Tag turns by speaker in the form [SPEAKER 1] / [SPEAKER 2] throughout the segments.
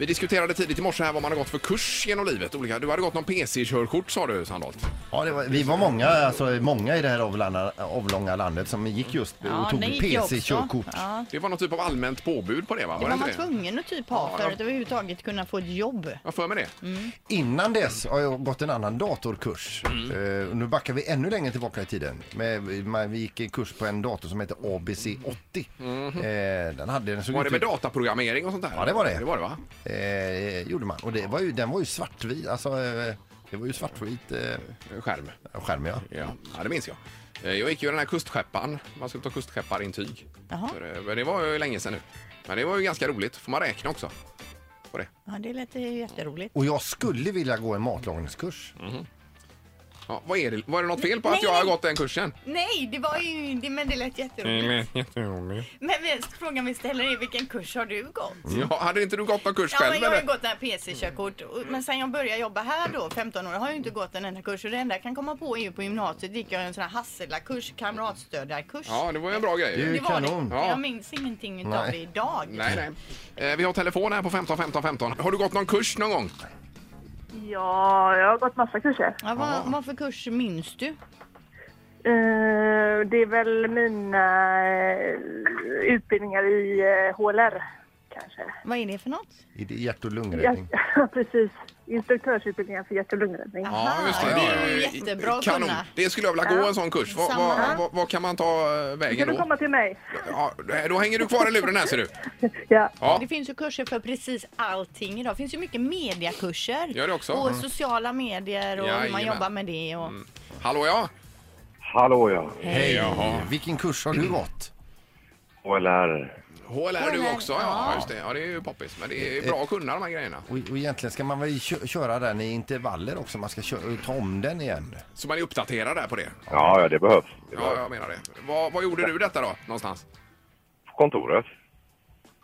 [SPEAKER 1] Vi diskuterade tidigt i morse här vad man har gått för kurs genom livet. Olika, du hade gått någon PC-körkort sa du Sandholt.
[SPEAKER 2] Ja, det var, vi var många, alltså, många i det här avlanda, avlånga landet som gick just och
[SPEAKER 3] Ja,
[SPEAKER 2] tog
[SPEAKER 3] det gick jag också.
[SPEAKER 2] PC-körkort.
[SPEAKER 3] Ja.
[SPEAKER 1] Det var någon typ av allmänt påbud på det va?
[SPEAKER 3] Det
[SPEAKER 1] Var det
[SPEAKER 3] var man
[SPEAKER 1] inte det?
[SPEAKER 3] tvungen att typ ha för att överhuvudtaget kunna få ett jobb.
[SPEAKER 1] Jag har för mig
[SPEAKER 3] Mm.
[SPEAKER 1] det.
[SPEAKER 2] Innan dess har jag gått en annan datorkurs.
[SPEAKER 3] Mm.
[SPEAKER 2] Eh, och nu backar vi ännu längre tillbaka i tiden. Men, man, vi gick en kurs på en dator som hette ABC80. Eh, den hade en så
[SPEAKER 1] Mhm. Var det med dataprogrammering och sånt där?
[SPEAKER 2] Ja, det var det.
[SPEAKER 1] Det var det va?
[SPEAKER 2] eh, gjorde man. Och det var ju, den var ju svartvit. Alltså, eh, det var ju svartvit eh,
[SPEAKER 1] En Skärm.
[SPEAKER 2] skärm ja.
[SPEAKER 1] Ja. ja, det minns jag. Eh, Jag gick ju den här kustskeppan. Man skulle ta kustskepparintyg.
[SPEAKER 3] Jaha.
[SPEAKER 1] Så det- Men det var ju länge sedan nu. Men det var ju ganska roligt. Får man räkna också? På det.
[SPEAKER 3] Ja, det lät ju jätteroligt.
[SPEAKER 2] Och jag skulle vilja gå en matlagningskurs.
[SPEAKER 1] Mm. Ja, vad är det? Var det något fel på
[SPEAKER 3] Nej,
[SPEAKER 1] att jag har
[SPEAKER 3] nej.
[SPEAKER 1] gått den kursen?
[SPEAKER 3] Nej, det var ju det, men det lät jätteroligt. Men vi, frågan vi ställer är vilken kurs har du gått?
[SPEAKER 1] Ja, hade inte du gått någon kurs
[SPEAKER 3] Ja,
[SPEAKER 1] själv
[SPEAKER 3] men jag har
[SPEAKER 1] eller?
[SPEAKER 3] ju gått den här PC-körkort och- men sen jag började jobba här då, 15 år, har jag ju inte gått en enda kurs och det enda jag kan komma på är ju på gymnasiet gick jag en sån här Hassela-kurs, kamratstödjarkurs.
[SPEAKER 1] Ja, det var ju en bra grej.
[SPEAKER 2] Det är ju
[SPEAKER 3] det var det.
[SPEAKER 2] kanon.
[SPEAKER 1] Ja.
[SPEAKER 3] Jag minns ingenting utav
[SPEAKER 2] Nej.
[SPEAKER 3] det idag.
[SPEAKER 1] Nej, nej. Eh, Vi har telefon här på 15 15 15. Har du gått någon kurs någon gång?
[SPEAKER 4] Ja, jag har gått massa kurser.
[SPEAKER 3] Ja, vad, vad för kurs minns du?
[SPEAKER 4] Eh, det är väl mina eh, utbildningar i eh, HLR, kanske.
[SPEAKER 3] Vad är det för något?
[SPEAKER 2] I det hjärt och
[SPEAKER 4] Ja,
[SPEAKER 2] lungräddning.
[SPEAKER 4] precis. Instruktörsutbildningar för hjärt och lungräddning.
[SPEAKER 3] Aha, Det är ju jättebra att
[SPEAKER 1] Kanon.
[SPEAKER 3] kunna.
[SPEAKER 1] Det skulle jag vilja gå en sån kurs. Vad
[SPEAKER 3] Samma.
[SPEAKER 1] vad- vad- vad kan man ta eh,
[SPEAKER 4] Kan
[SPEAKER 1] vägen
[SPEAKER 4] du
[SPEAKER 1] då?
[SPEAKER 4] komma till mig?
[SPEAKER 1] Ja, eh, då hänger du kvar i luren här ser du.
[SPEAKER 4] Ja.
[SPEAKER 1] Ja.
[SPEAKER 3] Det finns ju kurser för precis allting idag. Det finns ju mycket mediakurser.
[SPEAKER 1] Gör det också.
[SPEAKER 3] Och
[SPEAKER 1] Mm.
[SPEAKER 3] sociala medier och hur man
[SPEAKER 1] Jajamän. Mm.
[SPEAKER 3] jobbar med det. Och...
[SPEAKER 1] Hallå ja.
[SPEAKER 5] Hallå ja,
[SPEAKER 2] Hej!
[SPEAKER 1] Jaha.
[SPEAKER 2] Vilken kurs har du gått?
[SPEAKER 5] HLR.
[SPEAKER 1] HLR du
[SPEAKER 3] HLR,
[SPEAKER 1] också. Ja, Eh,
[SPEAKER 3] ja.
[SPEAKER 1] just det. Ja, det är ju poppis. Men det är bra att kunna de här grejerna.
[SPEAKER 2] Och, och egentligen ska man väl kö- köra den i intervaller också, man ska köra, ta om den igen.
[SPEAKER 1] Så man är uppdaterad där på det.
[SPEAKER 5] Ja, ja det behövs. Det
[SPEAKER 1] Ja,
[SPEAKER 5] behövs.
[SPEAKER 1] jag menar det. Vad, vad gjorde du detta då? Någonstans?
[SPEAKER 5] Kontoret.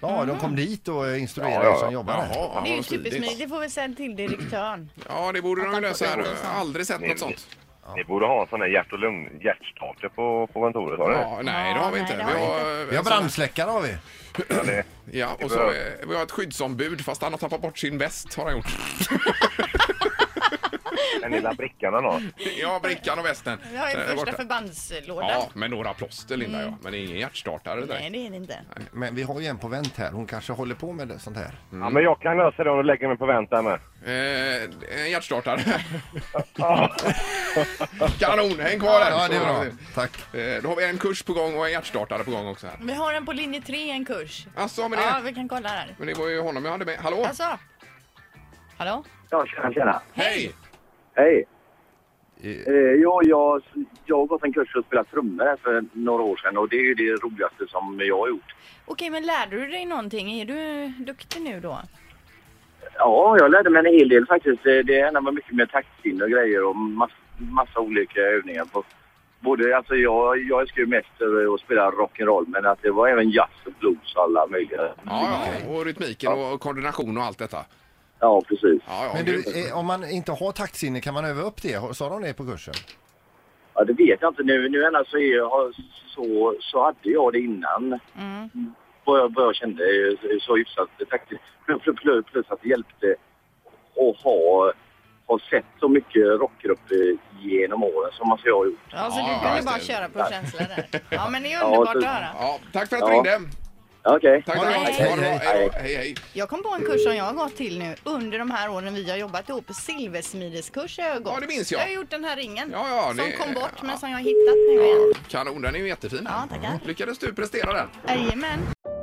[SPEAKER 2] Ja, de kom dit och eh, instruerade
[SPEAKER 5] Mm. Ja, ja,
[SPEAKER 2] oss som
[SPEAKER 5] ja.
[SPEAKER 2] jobbar här.
[SPEAKER 1] ja,
[SPEAKER 3] det är ju
[SPEAKER 1] vad smidigt.
[SPEAKER 3] supersmidigt. Det får vi säga till direktören.
[SPEAKER 1] Ja, det borde de ju lösa här. Jag har aldrig sett
[SPEAKER 5] Ni,
[SPEAKER 1] något
[SPEAKER 5] ni,
[SPEAKER 1] sånt.
[SPEAKER 5] ni borde ha en sån där hjärt och lung hjärtstarter på, på kontoret, har ni?
[SPEAKER 1] Ja, nej, det har vi
[SPEAKER 3] Ja,
[SPEAKER 1] inte.
[SPEAKER 3] nej, det har vi
[SPEAKER 1] eh,
[SPEAKER 2] Vi har
[SPEAKER 1] en sån-
[SPEAKER 2] brandsläckare har vi.
[SPEAKER 1] Ja, och så eh, vi har ett skyddsombud fast han har tappat bort sin väst har han gjort.
[SPEAKER 5] Den lilla brickan han har.
[SPEAKER 1] Ja, brickan och västen.
[SPEAKER 3] Vi har ju
[SPEAKER 1] Eh,
[SPEAKER 3] första Mm.
[SPEAKER 1] borta.
[SPEAKER 3] förbandslådan.
[SPEAKER 1] Ja, med några plåster Linda ja. Men det är ingen hjärtstartare
[SPEAKER 3] Nej,
[SPEAKER 1] direkt.
[SPEAKER 3] det är det inte.
[SPEAKER 2] Men vi har ju en på vänt här, hon kanske håller på med det, sånt här.
[SPEAKER 5] Ja, men jag kan lösa det om du lägger mig på väntan med.
[SPEAKER 1] Eh, en hjärtstartare. Kanon, häng kvar där.
[SPEAKER 2] Ja, det är bra. Tack.
[SPEAKER 1] Eh, Då har vi en kurs på gång och en hjärtstartare på gång också här.
[SPEAKER 3] Vi har en på linje 3, en kurs.
[SPEAKER 1] Alltså, men
[SPEAKER 3] Ja,
[SPEAKER 1] det,
[SPEAKER 3] vi kan kolla här.
[SPEAKER 1] men det var ju honom jag hade med. Hallå?
[SPEAKER 3] Alltså. Hallå?
[SPEAKER 6] Ja, tjena, tjena.
[SPEAKER 1] Hej!
[SPEAKER 6] Hej.
[SPEAKER 2] Eh,
[SPEAKER 6] Eh, jo, jag, jag har gått en kurs och spelat trummor här för några år sedan och det är ju det roligaste som jag har gjort.
[SPEAKER 3] Okej, men lärde du dig någonting? Är du duktig nu då?
[SPEAKER 6] Ja, jag lärde mig en hel del faktiskt. Eh, Det handlar mycket med taktsinne och grejer och mass, massa olika övningar. På. Både, alltså jag, jag älskar ju mest eh, att spela rock'n'roll men att det var även jazz och blues och alla möjliga.
[SPEAKER 1] Ja, ja, och rytmiken och koordination och allt detta.
[SPEAKER 6] Ja, precis.
[SPEAKER 1] Ja, ja,
[SPEAKER 2] Men
[SPEAKER 1] grymt.
[SPEAKER 2] du, eh, om man inte har taktsinne, kan man öva upp det? Har- Sa de det på kursen?
[SPEAKER 6] Ja, det vet jag inte nu. Nu än så, är jag, så, så hade jag det innan. Vad, jag, vad jag kände eh, så hyfsat taktiskt. Plus, plus, plus att det hjälpte att ha, ha sett så mycket rockgrupper genom åren som alltså jag har gjort.
[SPEAKER 3] Ja, så
[SPEAKER 1] Ja,
[SPEAKER 3] du
[SPEAKER 1] ja,
[SPEAKER 3] kunde
[SPEAKER 1] just
[SPEAKER 3] bara
[SPEAKER 1] det.
[SPEAKER 3] köra på känsla där. Ja, men det är
[SPEAKER 6] Ja,
[SPEAKER 3] underbart att
[SPEAKER 6] så-
[SPEAKER 3] höra.
[SPEAKER 1] ja, tack för att du
[SPEAKER 6] Ja.
[SPEAKER 1] ringde.
[SPEAKER 6] Okej.
[SPEAKER 1] Tack,
[SPEAKER 2] Ha det
[SPEAKER 1] tack.
[SPEAKER 2] bra.
[SPEAKER 1] Ha det bra.
[SPEAKER 2] Hej,
[SPEAKER 1] Hej, då. hej, hej.
[SPEAKER 3] Jag kom på en kurs som jag har gått till nu under de här åren vi har jobbat ihop. Silversmideskurs har jag gått.
[SPEAKER 1] Ja, det minns jag.
[SPEAKER 3] Jag har gjort den här ringen
[SPEAKER 1] Ja, ja,
[SPEAKER 3] som
[SPEAKER 1] det-
[SPEAKER 3] kom bort
[SPEAKER 1] ja.
[SPEAKER 3] men som jag har hittat nu igen.
[SPEAKER 1] Kanon, den är ju jättefin.
[SPEAKER 3] Ja, tackar.
[SPEAKER 1] Lyckades du prestera den?
[SPEAKER 3] Jajamän.